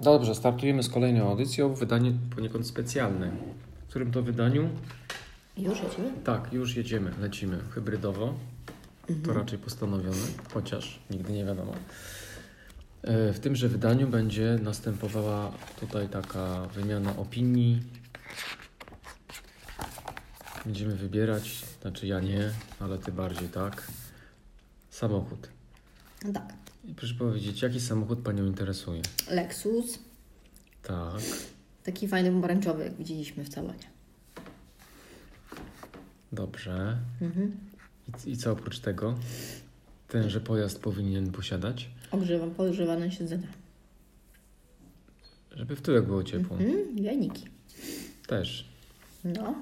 Dobrze, startujemy z kolejną audycją, wydanie poniekąd specjalne. W którym to wydaniu? Już jedziemy? Tak, już jedziemy, lecimy hybrydowo. To raczej postanowione, chociaż nigdy nie wiadomo. E, W tymże wydaniu będzie następowała tutaj taka wymiana opinii. Będziemy wybierać, znaczy ja nie, ale ty bardziej tak. Samochód. No tak. I proszę powiedzieć, jaki samochód panią interesuje? Lexus, Tak. taki fajny pomarańczowy, jak widzieliśmy w salonie. Dobrze. Mhm. I, I co oprócz tego? Tenże pojazd powinien posiadać, Ogrzewam, podgrzewane siedzenia. żeby w tyłek było ciepło. Mm, jajniki. Też. No,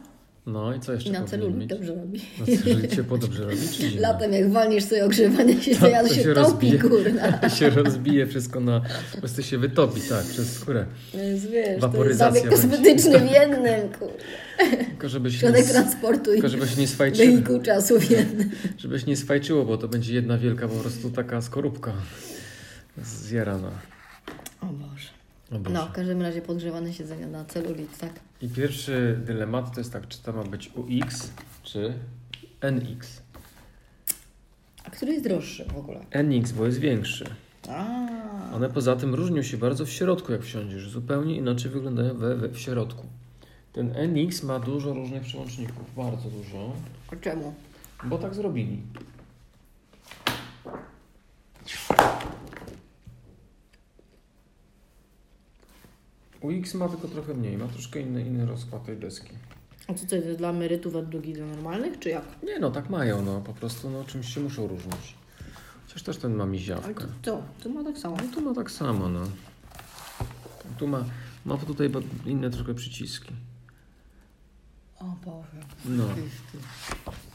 No i co jeszcze i na powinien celulit mieć? dobrze robi. Na celulit ciepło dobrze robi, czy zimno? Latem jak walniesz sobie ogrzewanie siedzenia, to, to się, się topi, rozbije. kurna. To się rozbije wszystko na... Po prostu się wytopi, tak, przez skórę. No jest, wiesz, to jest Waporyzacja zabieg będzie. kosmetyczny w jednym, kurna. Tylko żebyś nie, Środek s- transportu i tylko żebyś nie swajczył. wyniku czasu w jednym. Żebyś nie swajczyło, bo to będzie jedna wielka po prostu taka skorupka zjarana. O Boże. O Boże. No, w każdym razie podgrzewane siedzenia na celulit, tak? I pierwszy dylemat to jest tak, czy to ma być UX, czy NX. A który jest droższy w ogóle? NX, bo jest większy. A, One poza tym różnią się bardzo w środku, jak wsiądziesz. Zupełnie inaczej wyglądają we, we, w środku. Ten NX ma dużo różnych przełączników, bardzo dużo, a czemu? bo tak zrobili. UX ma tylko trochę mniej, ma troszkę inny, inny rozkład tej deski. A co to jest dla emerytów, a drugi dla normalnych, czy jak? Nie no, tak mają, no po prostu no, czymś się muszą różnić. Chociaż też ten ma Ale to miziawkę. co? To ma tak samo. No tu ma tak samo, no. Tu ma, ma tutaj ba- inne trochę przyciski. O Boże. No,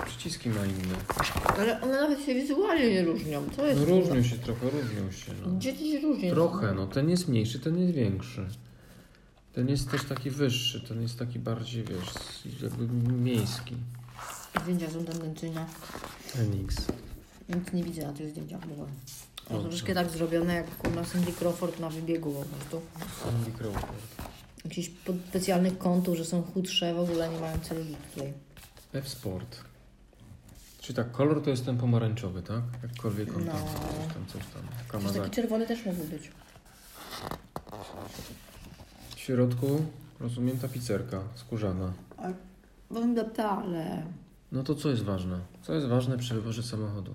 przyciski ma inne. Ale one nawet się wizualnie nie różnią. Co jest? No różnią się trochę, różnią się, no. Gdzie ty się różnią? Trochę, no. Ten jest mniejszy, ten jest większy. Ten jest też taki wyższy, ten jest taki bardziej, wiesz, jakby miejski. Zdjęcia są tendencyjne. NX. Nic nie widzę na tych zdjęciach. Bo O, są troszkę tak zrobione jak u nas Cindy Crawford na wybiegu po prostu. Andy Crawford. Jakiś pod specjalnych kątów, że są chudsze, w ogóle nie mają celu tutaj. F-Sport. Czyli tak, kolor to jest ten pomarańczowy, tak? Jakkolwiek on tam, No. coś tam, coś tam. Przecież Kamazaki. taki czerwony też mógł być. W środku, rozumiem, tapicerka skórzana. Ale powiem detale. No to co jest ważne? Co jest ważne przy wyborze samochodu?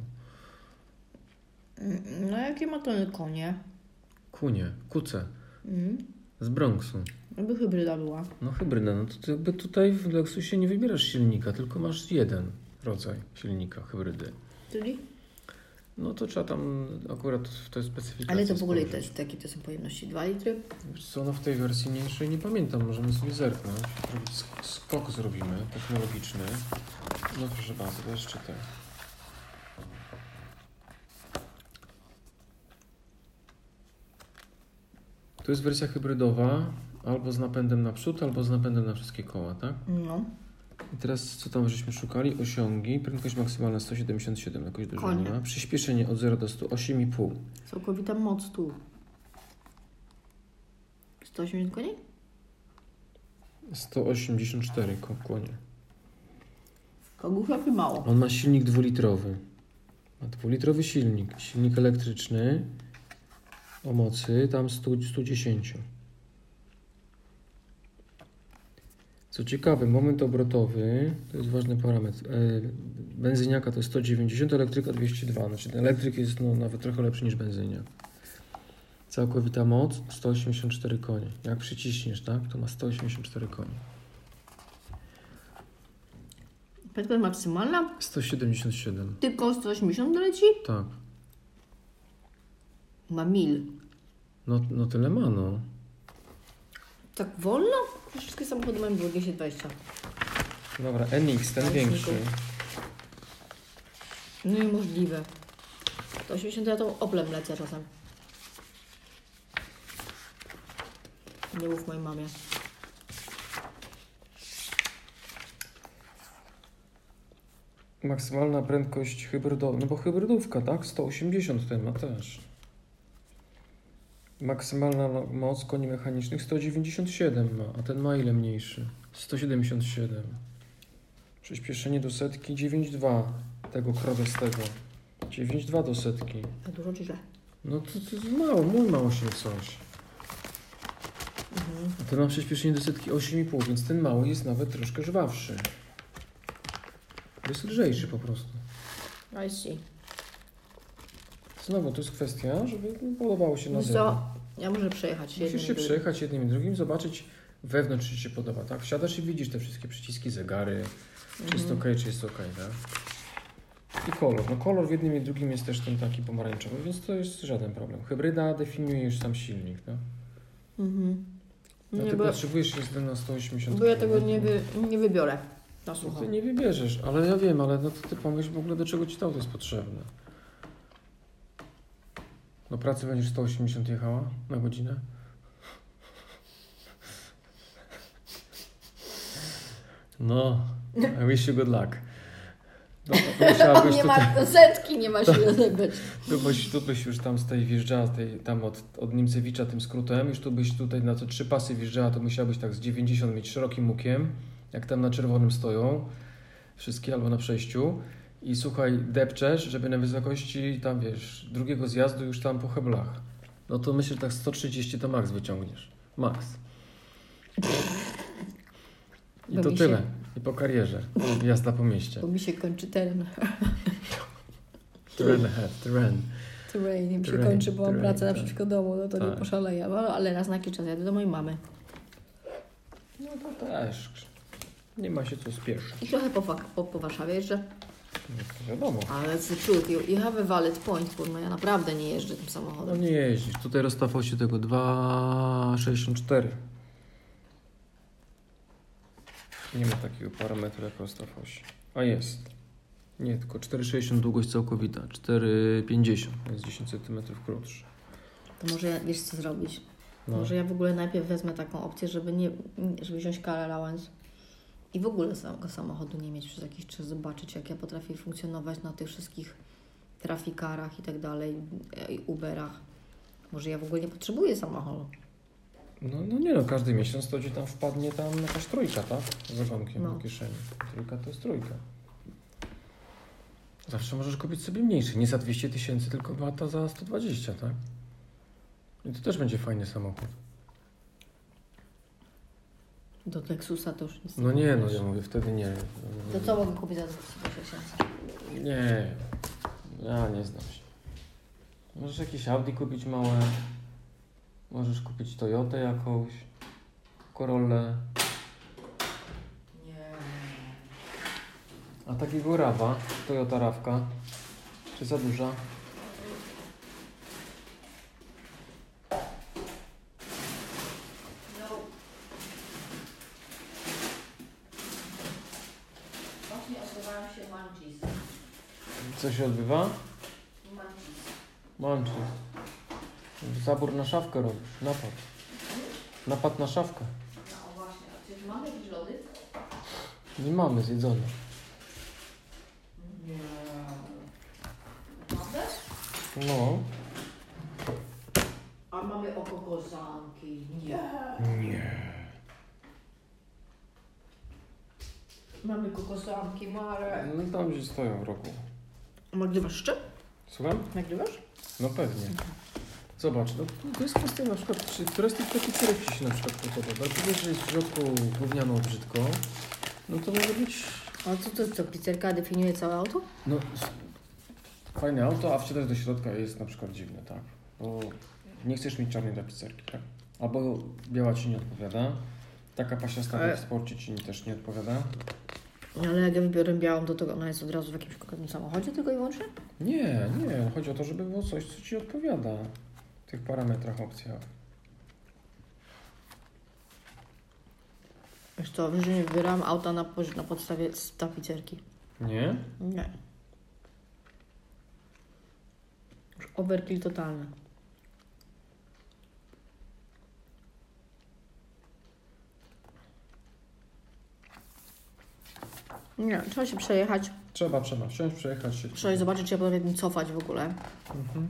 Mm, No jakie ma to konie? Kunie, kuce, Mhm. z Bronxu. Żeby hybryda była. No hybryda, no to ty jakby tutaj w Lexusie nie wybierasz silnika, tylko masz jeden rodzaj silnika hybrydy. Czyli? No to trzeba tam akurat w tej specyfikacji Ale to w ogóle spojrzeć. też takie to są pojemności 2 litry. Wiesz Co, no w tej wersji mniejszej nie pamiętam, możemy sobie zerknąć. Zrobić sk- Skok zrobimy, technologiczny. No proszę bardzo, to jeszcze te. To jest wersja hybrydowa, albo z napędem naprzód, albo z napędem na wszystkie koła, tak? No. I teraz co tam żeśmy szukali? Osiągi, prędkość maksymalna 177, jakoś dużo nie Konie. ma. Przyspieszenie od 0 do 100, 8,5. Całkowita moc tu. 180 koni? 184 ko- konie. Kogucha czy mało? On ma silnik dwulitrowy. Ma dwulitrowy silnik. Silnik elektryczny o mocy tam 100, 110. Co ciekawe, moment obrotowy to jest ważny parametr. e, Benzyniaka to jest 190, elektryka 202. Znaczy ten elektryk jest no, nawet trochę lepszy niż benzyniak. Całkowita moc 184 konie. Jak przyciśniesz, tak, to ma 184 konie. Prędkość maksymalna? 177. Tylko 180 leci? Tak. Ma mil. No, no tyle ma, no. Tak wolno? Przecież Wszystkie samochody mają 220. Dobra, NX, ten Ale większy. tylko- Niemożliwe. 180 ja to oblem lecę czasem. Nie mów mojej mamie. Maksymalna prędkość no hybrydowa, no bo hybrydówka, tak? 180 ten ma też. Maksymalna lo- moc koni mechanicznych 197 ma, no, a ten ma ile mniejszy? 177. Przyspieszenie do setki 9,2 tego krowestego. 9,2 do setki. A dużo czy źle? No to, to jest mało, mój ma 8 coś. Mhm. A ten ma przyspieszenie do setki 8,5, więc ten mały jest nawet troszkę żwawszy. Jest lżejszy po prostu. I see. Znowu, to jest kwestia, żeby podobało się na Wiesz zewnątrz. co? Ja może przejechać jednym Musisz się i drugim. przejechać jednym i drugim, zobaczyć wewnątrz, czy ci się podoba, tak? Wsiadasz i widzisz te wszystkie przyciski, zegary, czy jest Mhm. ok, czy jest ok, tak? I kolor. No kolor w jednym i drugim jest też ten taki pomarańczowy, więc to jest żaden problem. Hybryda definiujesz sam silnik, tak? Mhm. No Nie, ty bo, potrzebujesz jest na 180 bo ja tego km. nie, wy, nie wybiorę. Na No sucho. ty nie wybierzesz, ale ja wiem, ale no to ty pomyśl w ogóle, do czego ci to auto jest potrzebne. Do pracy będziesz 180 jechała na godzinę? No, I wish you good luck. No, to musiałabyś Nie tutaj, ma setki, nie ma się odebrać. tu byś, tu byś już tam z tej wjeżdżała, z tej, tam od, od Nimcewicza tym skrótem, już tu byś tutaj na te trzy pasy wjeżdżała, to musiałabyś tak z 90 mieć szerokim łukiem, jak tam na czerwonym stoją, wszystkie albo na przejściu i słuchaj, depczesz, żeby na wysokości tam wiesz, drugiego zjazdu już tam po heblach. No to myślę, że tak 130 to max wyciągniesz. Max. I to Robi się. tyle. I po karierze. Jazda po mieście. Bo mi się kończy teren. Tren ahead, tren. Terrain mi się Terrain, kończy, bo mam terrain, pracę tak. naprzeciwko domu, no to nie Tak. poszaleję. Ale, ale raz na jakiś czas jadę do mojej mamy. No to też. Nie ma się co spieszyć. I trochę po, Wa- po, po Warszawie jeżdżę. No to wiadomo. Ale z truth, you, you have a valid point, bo no ja naprawdę nie jeżdżę tym No samochodem. nie jeździsz. Tutaj rozstawał się tego 2,64. Nie ma takiego parametru jak rozstawał się. A jest. Nie, tylko 4,60 długość całkowita. 4,50 jest 10 cm krótszy. To może ja, wiesz co zrobić? No. Może ja w ogóle najpierw wezmę taką opcję, żeby, nie, żeby wziąć car allowance i w ogóle samego samochodu nie mieć przez jakiś czas, zobaczyć jak ja potrafię funkcjonować na tych wszystkich trafikarach i tak dalej, e, i Uberach. Może ja w ogóle nie potrzebuję samochodu. No, no nie no, każdy miesiąc to ci tam wpadnie tam jakaś trójka, tak? Z ogonkiem No. do kieszeni. Trójka to jest trójka. Zawsze możesz kupić sobie mniejszy. Nie za 200 tysięcy, tylko bata za 120, tak? I to też będzie fajny samochód. Do Lexusa to już nic No nie, no kupujesz. ja mówię, wtedy nie. To co mogę kupić za 200 tysięcy? Nie, ja nie znam się. Możesz jakieś Audi kupić małe. Możesz kupić Toyotę jakąś. Corollę. Nie. A takiego rawa, Toyota Rawka, czy za duża? No. Właśnie odbywają się munchies. Co się odbywa? Munchies. Mączy. Zabór na szafkę robisz, napad. Napad na szafkę. No właśnie, a czy mamy jakieś lody? Nie mamy zjedzone. Nie. Naprawdę? No. A mamy okokozanki. Nie. Nie. Mamy kokosanki, Marek. No tam gdzie stoją w rogu. Nagrywasz jeszcze? Słucham? Nagrywasz? No pewnie. Zobacz, no to jest kwestia na przykład, czy która z tych takicerek ci się na przykład podoba. Jak wiesz, że jest w środku gówniano brzydko, no to może być A co to co, pizzerka definiuje całe auto? No, s- fajne auto, a wsiadasz do środka i jest na przykład dziwne, tak? Bo nie chcesz mieć czarnej tapicerki, tak? Albo biała ci nie odpowiada, taka pasiasta Ale- Ale... w sporcie ci też nie odpowiada. Ale jak ja wybiorę białą, to, to ona jest od razu w jakimś konkretnym samochodzie tylko i wyłącznie? Nie, nie, chodzi o to, żeby było coś, co ci odpowiada w tych parametrach, opcjach. Wiesz co, wiesz, że nie wybierałam auta na, poz- na podstawie z tapicerki. Nie? Nie. Już overkill totalny. Nie, trzeba się przejechać, Trzeba, trzeba wsiąść, przejechać się. trzeba zobaczyć, czy ja potrafię tym cofać w ogóle. Mhm.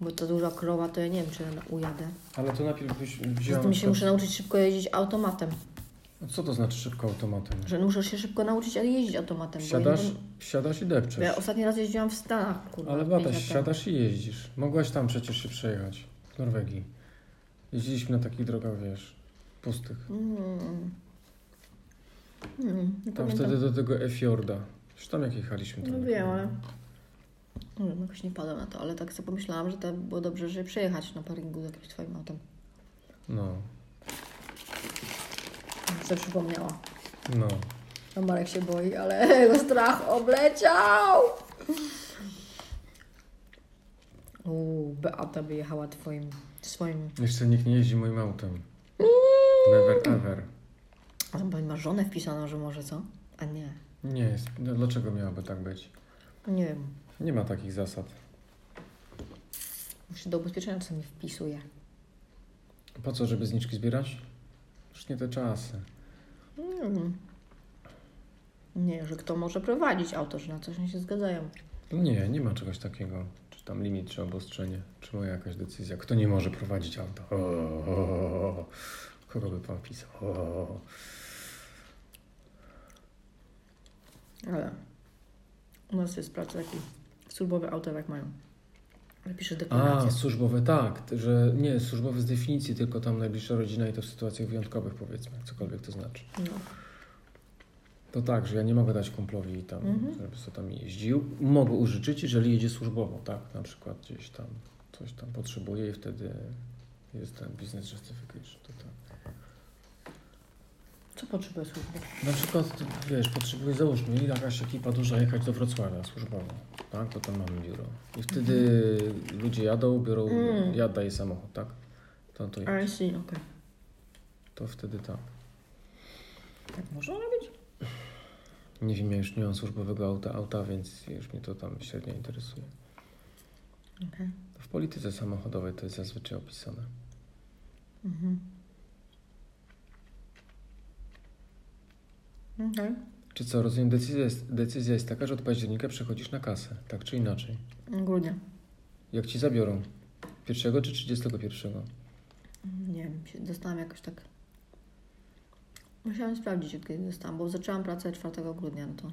Bo ta duża krowa, to ja nie wiem, czy ja na- ujadę. Ale to najpierw byś wzięła... Zatem się muszę nauczyć szybko jeździć automatem. Co to znaczy szybko automatem? Że muszę się szybko nauczyć ale jeździć automatem. bo ja nie Siadasz, wiem- siadasz i bo ja depczesz. ostatni raz jeździłam w Stanach, kurwa. Ale pięć bata, lat temu. siadasz i jeździsz. Mogłaś tam przecież się przejechać. W Norwegii. Jeździliśmy na takich drogach, wiesz, pustych. Mm. Mm, Tam nie pamiętam. wtedy do tego Efiorda. Już tam jak jechaliśmy. No tam. wiem, ale... Nie wiem, jakoś nie padłem na to, ale tak sobie pomyślałam, że to było dobrze, że przejechać na parkingu z jakimś twoim autem. No, Co Tak przypomniała. no. No Marek się boi, ale jego strach obleciał! Uuu, Beata by jechała twoim, swoim... Jeszcze nikt nie jeździ moim autem. Never ever. A tam pani ma żonę wpisaną, że może, co? A nie. Nie jest. no Dlaczego miałoby tak być? Nie wiem. Nie ma takich zasad. Muszę do ubezpieczenia czasami wpisuję. Po co, żeby zniczki zbierać? Już nie te czasy. Mm. Nie, że kto może prowadzić auto, że na coś nie się zgadzają. No nie, nie ma czegoś takiego. Czy tam limit, czy obostrzenie, czy moja jakaś decyzja. Kto nie może prowadzić auto? O, o, o, o. Kogo by pan pisał? O, o, o. Ale u nas jest praca taki służbowe auta tak mają. Ale pisze A, deklarację. służbowe, tak. t- Że nie, służbowe z definicji, tylko tam najbliższa rodzina i to w sytuacjach wyjątkowych, powiedzmy, cokolwiek to znaczy. No. To tak, że ja nie mogę dać kumplowi tam, Mhm. żeby sobie tam jeździł. Mogę użyczyć, jeżeli jedzie służbowo, tak? Na przykład gdzieś tam coś tam potrzebuje i wtedy jest ten business justification. To tak. Co potrzebuje służby? Na przykład, ty, wiesz, potrzebuje, załóżmy, jakaś ekipa duża jechać do Wrocławia służbowo, tak, to tam mamy biuro. I wtedy ludzie jadą, biorą, Mm. ja daję samochód, tak? To, to, I see, okej. to wtedy tak. Tak można robić? Nie wiem, ja już nie mam służbowego auta, auta, więc już mnie to tam średnio interesuje. Okej. W polityce samochodowej to jest zazwyczaj opisane. Mhm. Okej. Czy co, rozumiem, decyzja jest, decyzja jest taka, że od października przechodzisz na kasę, tak czy inaczej. Grudnia. Jak ci zabiorą? Pierwszego czy 31? Nie wiem, się dostałam jakoś tak... Musiałam sprawdzić, od kiedy dostałam, bo zaczęłam pracę 4 grudnia, no to...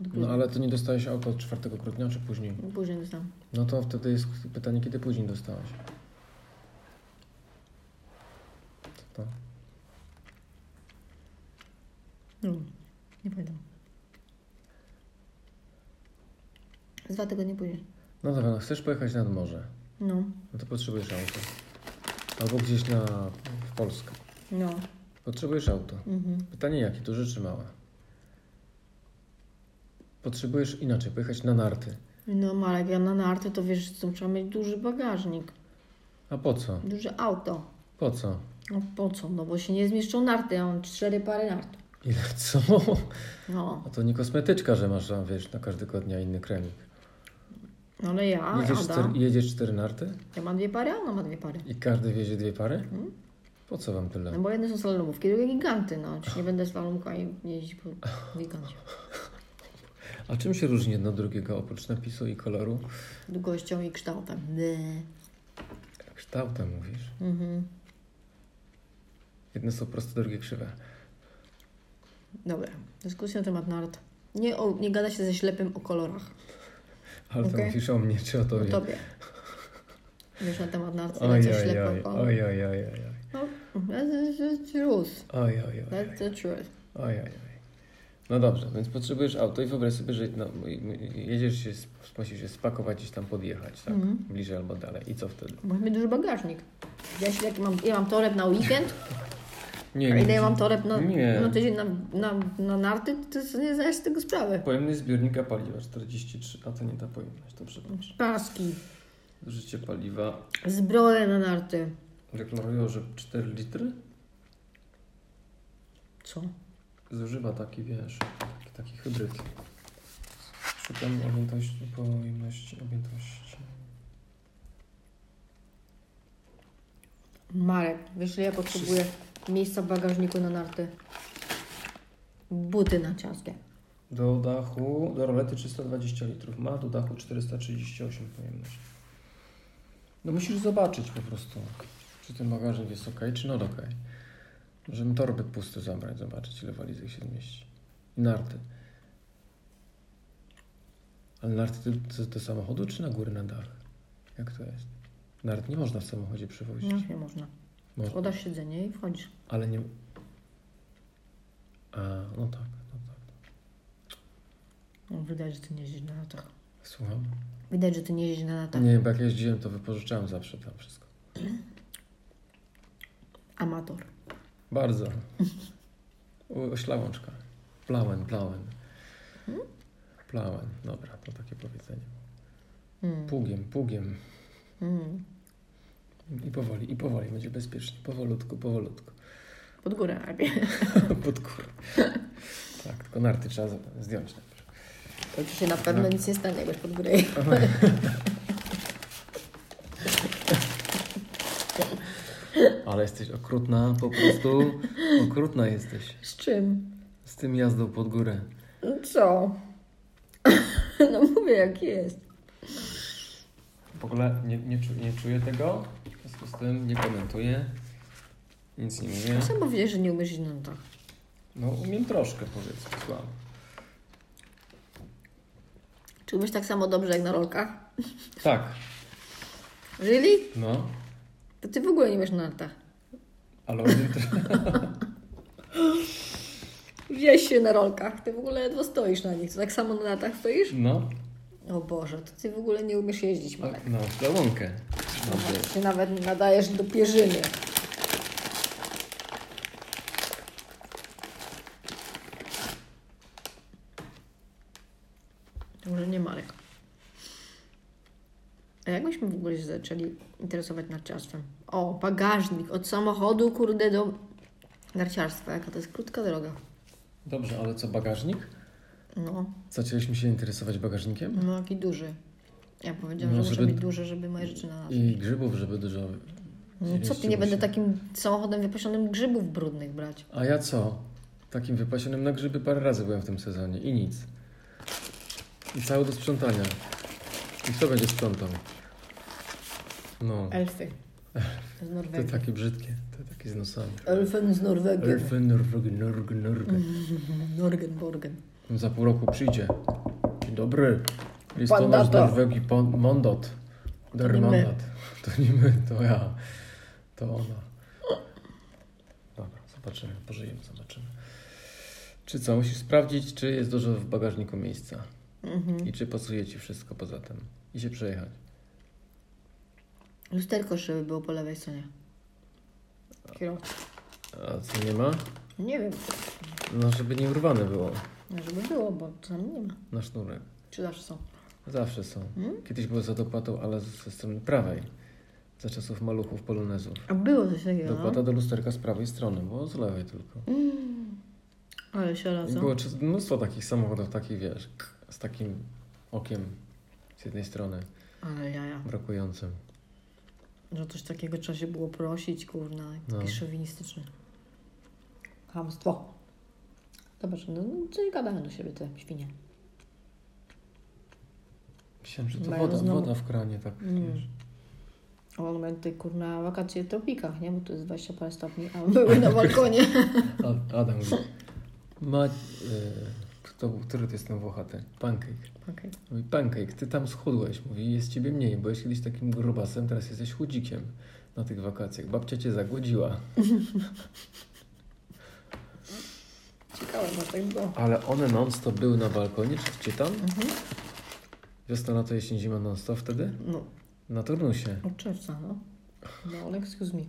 Od grudnia. No ale to nie dostałeś auta od 4 grudnia czy później? Później dostałam. No to wtedy jest pytanie, kiedy później dostałaś? Co to? No, nie pamiętam. Z Dwa tygodnie później. No dobra, no chcesz pojechać nad morze, No, no to potrzebujesz auto. Albo gdzieś na, w Polskę. no. Potrzebujesz auto. Mhm. Pytanie jakie, duże czy małe? Potrzebujesz inaczej, pojechać na narty. No, ale jak ja na narty, to wiesz, co trzeba mieć duży bagażnik, A po co? duże auto. Po co? No po co? No bo się nie zmieszczą narty, ja mam cztery pary nart. Ile co? No, A to nie kosmetyczka, że masz, a wiesz, na każdego dnia inny kremik. no ale ja, Jedziesz Ada, cztery, jedziesz cztery narty ja mam dwie pary, a ona ma dwie pary. i każdy wiezie dwie pary? Mhm. Po co wam tyle? No bo jedne są slalomówki, drugie giganty, no. Czy nie będę slalomkami jeździć po gigancie. A czym się różni jedno od drugiego oprócz napisu i koloru? Długością i kształtem. Nie. Kształtem mówisz. Mhm. Jedne są proste, drugie krzywe. Dobra, dyskusja na temat nart. Nie, o, nie gada się ze ślepym o kolorach. Ale to Okej. No mówisz o mnie czy o O tobie? tobie. Wiesz na temat nart, nie Oj, gada się oj, ślepo oj, o kolorach. oj, oj, oj, oj, No, that's the truth. oj, oj, oj, That's the truth. oj, oj. No dobrze, więc potrzebujesz auto i wyobraź sobie, że no, jedziesz się, sp- musisz się spakować gdzieś tam podjechać, tak? Mhm. Bliżej albo dalej. I co wtedy? Mamy duży bagażnik. Ja, się, jak mam, ja mam toreb na weekend, Nie, a ile ja mam toreb na, Nie. na tydzień na, na, na narty, to sobie nie zdajesz sobie tego sprawy. Pojemność zbiornika paliwa 43, a to nie ta pojemność, to Mhm. przepraszam. Paski, Zużycie paliwa zbroje na narty. deklarują, że 4 litry? Co? zużywa taki, wiesz, taki, taki hybryd. Szukam objętości, pojemności, objętości. Marek, wiesz, że ja potrzebuję miejsca w bagażniku na narty. Buty naciarskie. Do dachu, do rolety 320 litrów ma, do dachu 438 pojemność. No musisz zobaczyć po prostu, czy ten bagażnik jest ok, czy not ok. Możemy torby pusty zabrać, zobaczyć ile walizek się zmieści. I narty. Ale narty do, do, do samochodu, czy na górę, na dach? Jak to jest? Nart nie można w samochodzie przewozić. No, nie można. Można. Odasz siedzenie i wchodzisz. Ale nie. A, no tak, no tak. No, widać, że ty nie jeździsz na latach. Słucham? Widać, że ty nie jeździsz na latach. Nie, bo jak jeździłem, to wypożyczałem zawsze tam wszystko. Amator. Bardzo. U- Oślałączka. Plauen, plauen. Plauen, dobra, to takie powiedzenie. Mm. Pługiem, pługiem. Mm. I powoli, i powoli, będzie bezpiecznie. Powolutku, powolutku. Pod górę najpierw. Pod kur... Tak, tylko narty trzeba za- zdjąć najpierw. To ci się na pewno nic nie stanie, jakbyś pod górę jechał. Ale jesteś okrutna, po prostu okrutna jesteś. Z czym? Z tym jazdą pod górę. No Co? no mówię, jak jest. W ogóle nie, nie, czu, nie czuję tego, w związku z tym nie komentuję, nic nie mówię. Sam powiedziałeś, że nie umiesz jeździć na latach. No umiem troszkę powiedzmy, słabo. Czy umiesz tak samo dobrze jak na rolkach? Tak, Really? no, To ty w ogóle nie umiesz na latach. ale umiem troszkę. Wieś się na rolkach, ty w ogóle ledwo stoisz na nich. To tak samo na latach stoisz? No, O Boże, to ty w ogóle nie umiesz jeździć, Marek. no, za łąkę. Dobrze. Nawet, ty nawet nadajesz do pierzyny. To Może nie Marek. A jak myśmy w ogóle się zaczęli interesować narciarstwem? O, bagażnik od samochodu, kurde, do narciarstwa. Jaka to jest krótka droga. Dobrze, ale co, bagażnik? No, Zaczęliśmy się interesować bagażnikiem? no jaki duży. Ja powiedziałam, No, że muszę żeby- być duży, żeby moje rzeczy na nas. I grzybów, żeby dużo... No co ty, zmieściło nie będę się. takim samochodem wypasionym grzybów brudnych brać. A ja co? Takim wypasionym na grzyby parę razy byłem w tym sezonie i nic. I cały do sprzątania. I kto będzie sprzątał? No, Elfy. Z te Norwegii. takie brzydkie, te takie z nosami. Elfen z Norwegii. Elfy, Norweg, Norg, Norg. Norgenborgen. Za pół roku przyjdzie. Dzień dobry. Listonosz z Pandata. Norwegii, pan, mandat. Der nie my. mandat. To nie my, to ja. To ona. Dobra, zobaczymy, pożyjemy, zobaczymy. Czy co, musisz sprawdzić, czy jest dużo w bagażniku miejsca Mhm. i czy pasuje Ci wszystko poza tym i się przejechać. Lusterko szyby było po lewej stronie. Kierowca. A co nie ma? Nie wiem, No, żeby nie urwane było no żeby było, bo tam nie ma. na sznurek. Czy zawsze są? Zawsze są. Hmm? Kiedyś były za dopłatą, ale ze strony prawej. Za czasów maluchów, polonezów. A było coś takiego, Dokłada no. do lusterka z prawej strony, bo z lewej tylko. Mm. Ale się I radzą. było czas- mnóstwo takich samochodów, takich wiesz, z takim okiem z jednej strony Ale jaja. brakującym. Że coś takiego trzeba się było prosić, kurna. Takie No. szowinistyczne. Hamstwo. Zobacz, no co nie gadają do siebie te świnie. Myślałem, że to Mają woda, znowu- woda w kranie, tak Mm. wiesz. A On ma tutaj kurna wakacje w tropikach, nie? Bo tu jest 20 parę stopni, a były na balkonie. A, Adam mówi, ma... Y, to, był- który to jest ten Włochaty? Pancake. Okej. Mówi, pancake, ty tam schudłeś. Mówi, jest ciebie mniej. Byłeś kiedyś takim grubasem, teraz jesteś chudzikiem na tych wakacjach. Babcia cię zagłodziła. Ciekawe, bo tak było. Ale one non-stop były na balkonie, czy gdzie tam? Mhm. Wiosna, lato, jesień, zima non-stop wtedy? No, Na turnusie. od czerwca, no. No, ale excuse me.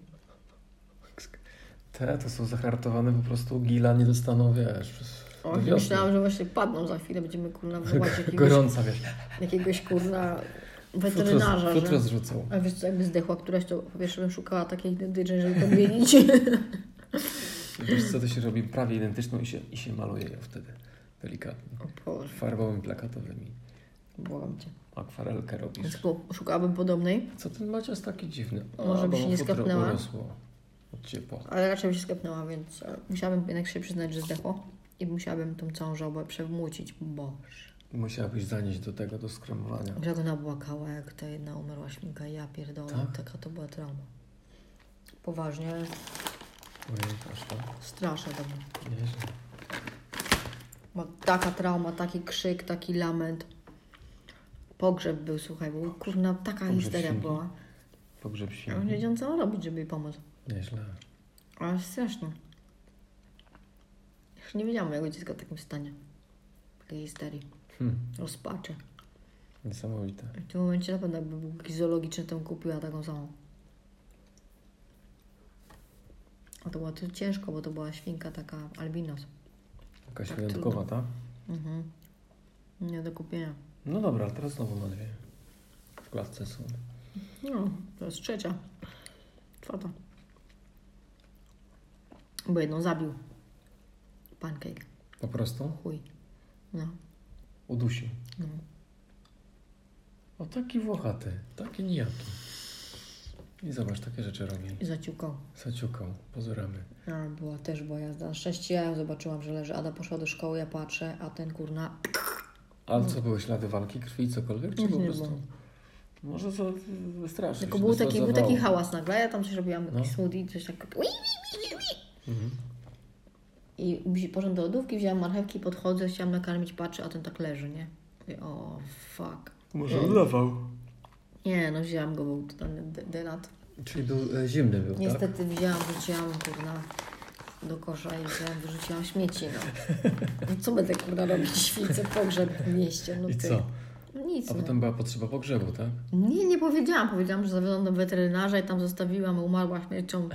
Te to są zahartowane po prostu gila, nie dostaną, wiesz, przez- O, do wiosny. myślałam, że właśnie padną za chwilę, będziemy kurna wywołać jakiegoś, Gorąca, wiesz, jakiegoś kurna futro, weterynarza, futro że... zrzucą. A wiesz co, jakby zdechła któraś, to po pierwsze bym szukała takiej identycznej, żeby to zmienić. Wiesz co, to się robi prawie identyczną i się, i się maluje ją wtedy, delikatnie. o Boże, Farbami plakatowymi. błagam Cię. Akwarelkę robisz. Więc po- szukałabym podobnej, Co ten macias taki dziwny? A, Może by bo się mu nie futro skapnęła? urosło od ciepła. ale raczej by się skapnęła, więc e, musiałabym jednak się przyznać, że zdechło i musiałabym tą całą żałobę przemłócić. Boże. Musiałabyś zanieść do tego, do skremowania. Jak ona błakała, jak ta jedna umarła świnka, ja pierdolę, Tak? taka to była trauma. Poważnie, Pamiętasz to? strasznie to było. Nieźle. Ma taka trauma, taki krzyk, taki lament. Pogrzeb był, słuchaj, bo kurna, taka Pogrzeb histeria świnki. była. Pogrzeb Ja nie świnki. wiedziałam, co mam robić, żeby jej pomóc. Nieźle. Ale strasznie. Już nie widziałam mojego dziecka w takim stanie. Takiej histerii, Hm. rozpaczy. Niesamowite. I w tym momencie na pewno by był jakiś zoologiczny, to bym kupiła taką samą. A to było to ciężko, bo to była świnka taka albinos. Jakaś Tak, wyjątkowa, trudno. tak? Mhm. Nie do kupienia. No dobra, ale teraz znowu ma dwie. W klatce są. No, to jest trzecia. Czwarta. Bo jedną zabił. Pancake. Po prostu Chuj. No. udusił. no. O taki włochaty, taki nijaki. I zobacz, takie rzeczy robi. I zaciukał. Zaciukał pozorami. No, była też była jazda. Na szczęście ja ją zobaczyłam, że leży. Ada poszła do szkoły, ja patrzę, a ten kurna... Ale co, były ślady walki, krwi, cokolwiek? Czy Nic po No. nie prostu... było. Może za strasznie. Tylko był taki, był taki hałas nagle. Ja tam coś robiłam, taki No. smoothie, coś tak... Ui! Mhm. I wzi- poszłam do lodówki, wzięłam marchewki, podchodzę, chciałam nakarmić, patrzę, a ten tak leży, nie? Mówię, o, fuck. Może Nie. udawał. Nie, no wzięłam go, był totalny de- denat. Czyli był e, zimny był, tak? Niestety wzięłam, wrzuciłam kurna do kosza i wzięłam, wyrzuciłam śmieci. No. no co będę kurna robić świcę pogrzeb w mieście? No I ty. co? No Nic. A No. potem była potrzeba pogrzebu, tak? Nie, nie powiedziałam. Powiedziałam, że zawiodłam do weterynarza i tam zostawiłam, umarła śmiercią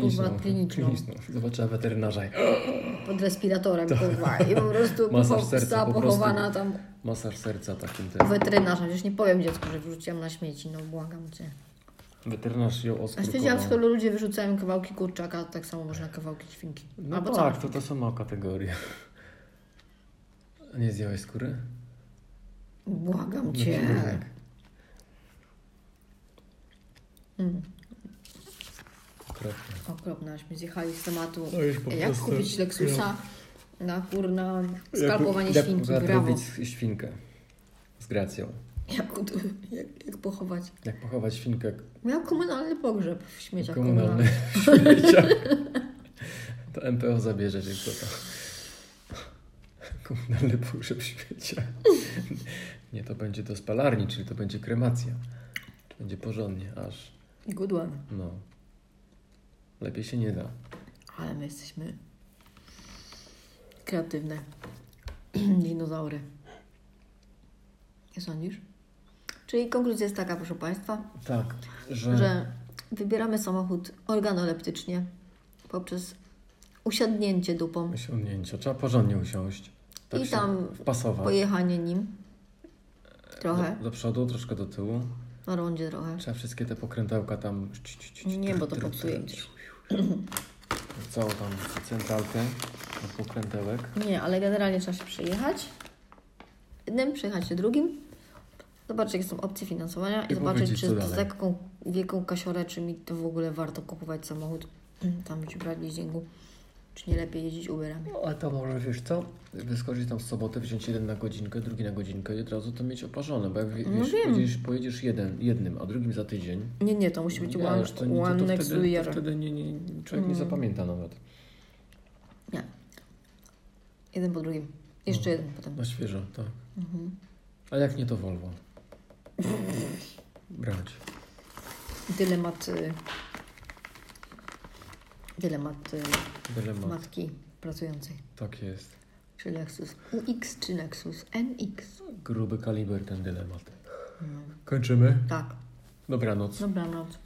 Kurwa, kliniczną. Zobaczyła weterynarza i pod respiratorem, kurwa. I po prostu Masaż pocho- serca została po prostu. pochowana tam masaż serca takim u tym. weterynarza. Przecież nie powiem dziecku, że wyrzuciłam na śmieci, no błagam cię. Weterynarz ją A wiedziałam, oskurkował. skoro ludzie wyrzucają kawałki kurczaka, to tak samo można kawałki świnki. No Albo tak, całą to to sama kategoria. A Nie zjałeś skóry? Błagam No cię. kurde, tak. Mm. Okropnie. Okropne, aśmy zjechali z tematu. E, No już po Jak prostu- kupić Lexusa na kurna skalpowanie Jak- świnki, Jak brawo. robić świnkę? Z gracją. Jak, jak, jak pochować? Jak pochować świnkę Miał komunalny pogrzeb w śmieciach komunalną? komunalnych. w śmieciach? To MPO zabierze cię kto to. Komunalny pogrzeb w śmieciach. Nie, to będzie do spalarni, czyli to będzie kremacja. To będzie porządnie, aż Good one. no. Lepiej się nie da. Ale my jesteśmy kreatywne. Dinozaury. Nie sądzisz? Czyli konkluzja jest taka, proszę Państwa, Tak, że... że wybieramy samochód organoleptycznie poprzez usiadnięcie dupą, Usiądnięcia. Trzeba porządnie usiąść. Tak I się tam wpasować. pojechanie nim trochę, Do, do przodu, troszkę do tyłu. na rondzie trochę. Trzeba wszystkie te pokrętełka tam... ci, ci, ci, ci, Nie, bo to tru, tru, popsuje tru. gdzieś. Całą tam centralkę od pokrętełek. Nie, ale generalnie trzeba się przejechać. Jednym, przejechać się drugim. Zobaczyć, jakie są opcje finansowania i, I zobaczyć, powiedzieć, czy co z dalej. taką wieką kasiorę, czy mi to w ogóle warto kupować samochód, tam czy brać leasingu, czy nie lepiej jeździć Uberami. No, ale to może wiesz co? Wyskoczyć tam w sobotę, wziąć jeden na godzinkę, drugi na godzinkę i od razu to mieć oparzone, bo jak wie- No wiesz, wiem. pojedziesz, pojedziesz jeden, jednym, a drugim za tydzień. Nie, nie, to musi być nie, one, już to nie- one to, to next wtedy, year. To wtedy nie, nie, człowiek nie zapamięta nawet. Nie. Jeden po drugim. No. Jeszcze jeden potem. Mhm. Na świeżo, tak. A jak nie to Volvo? Brać. Dylemat. y, Dylemat y, Dylemat. matki pracującej. Tak jest. Czy Lexus UX, czy Lexus NX? Gruby kaliber ten dylemat. Kończymy. Tak. Dobranoc. Dobranoc.